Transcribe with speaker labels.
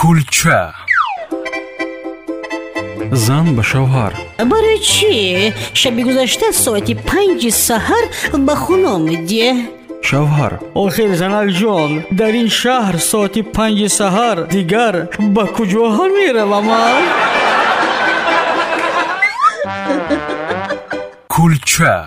Speaker 1: кулча зан ба шавҳар
Speaker 2: барои чӣ шаби гузашта соати панҷи саҳар ба хуно медие
Speaker 1: шавҳар
Speaker 3: охир занакҷон дар ин шаҳр соати панҷи саҳар дигар ба куҷоҳа меравам а
Speaker 1: кулча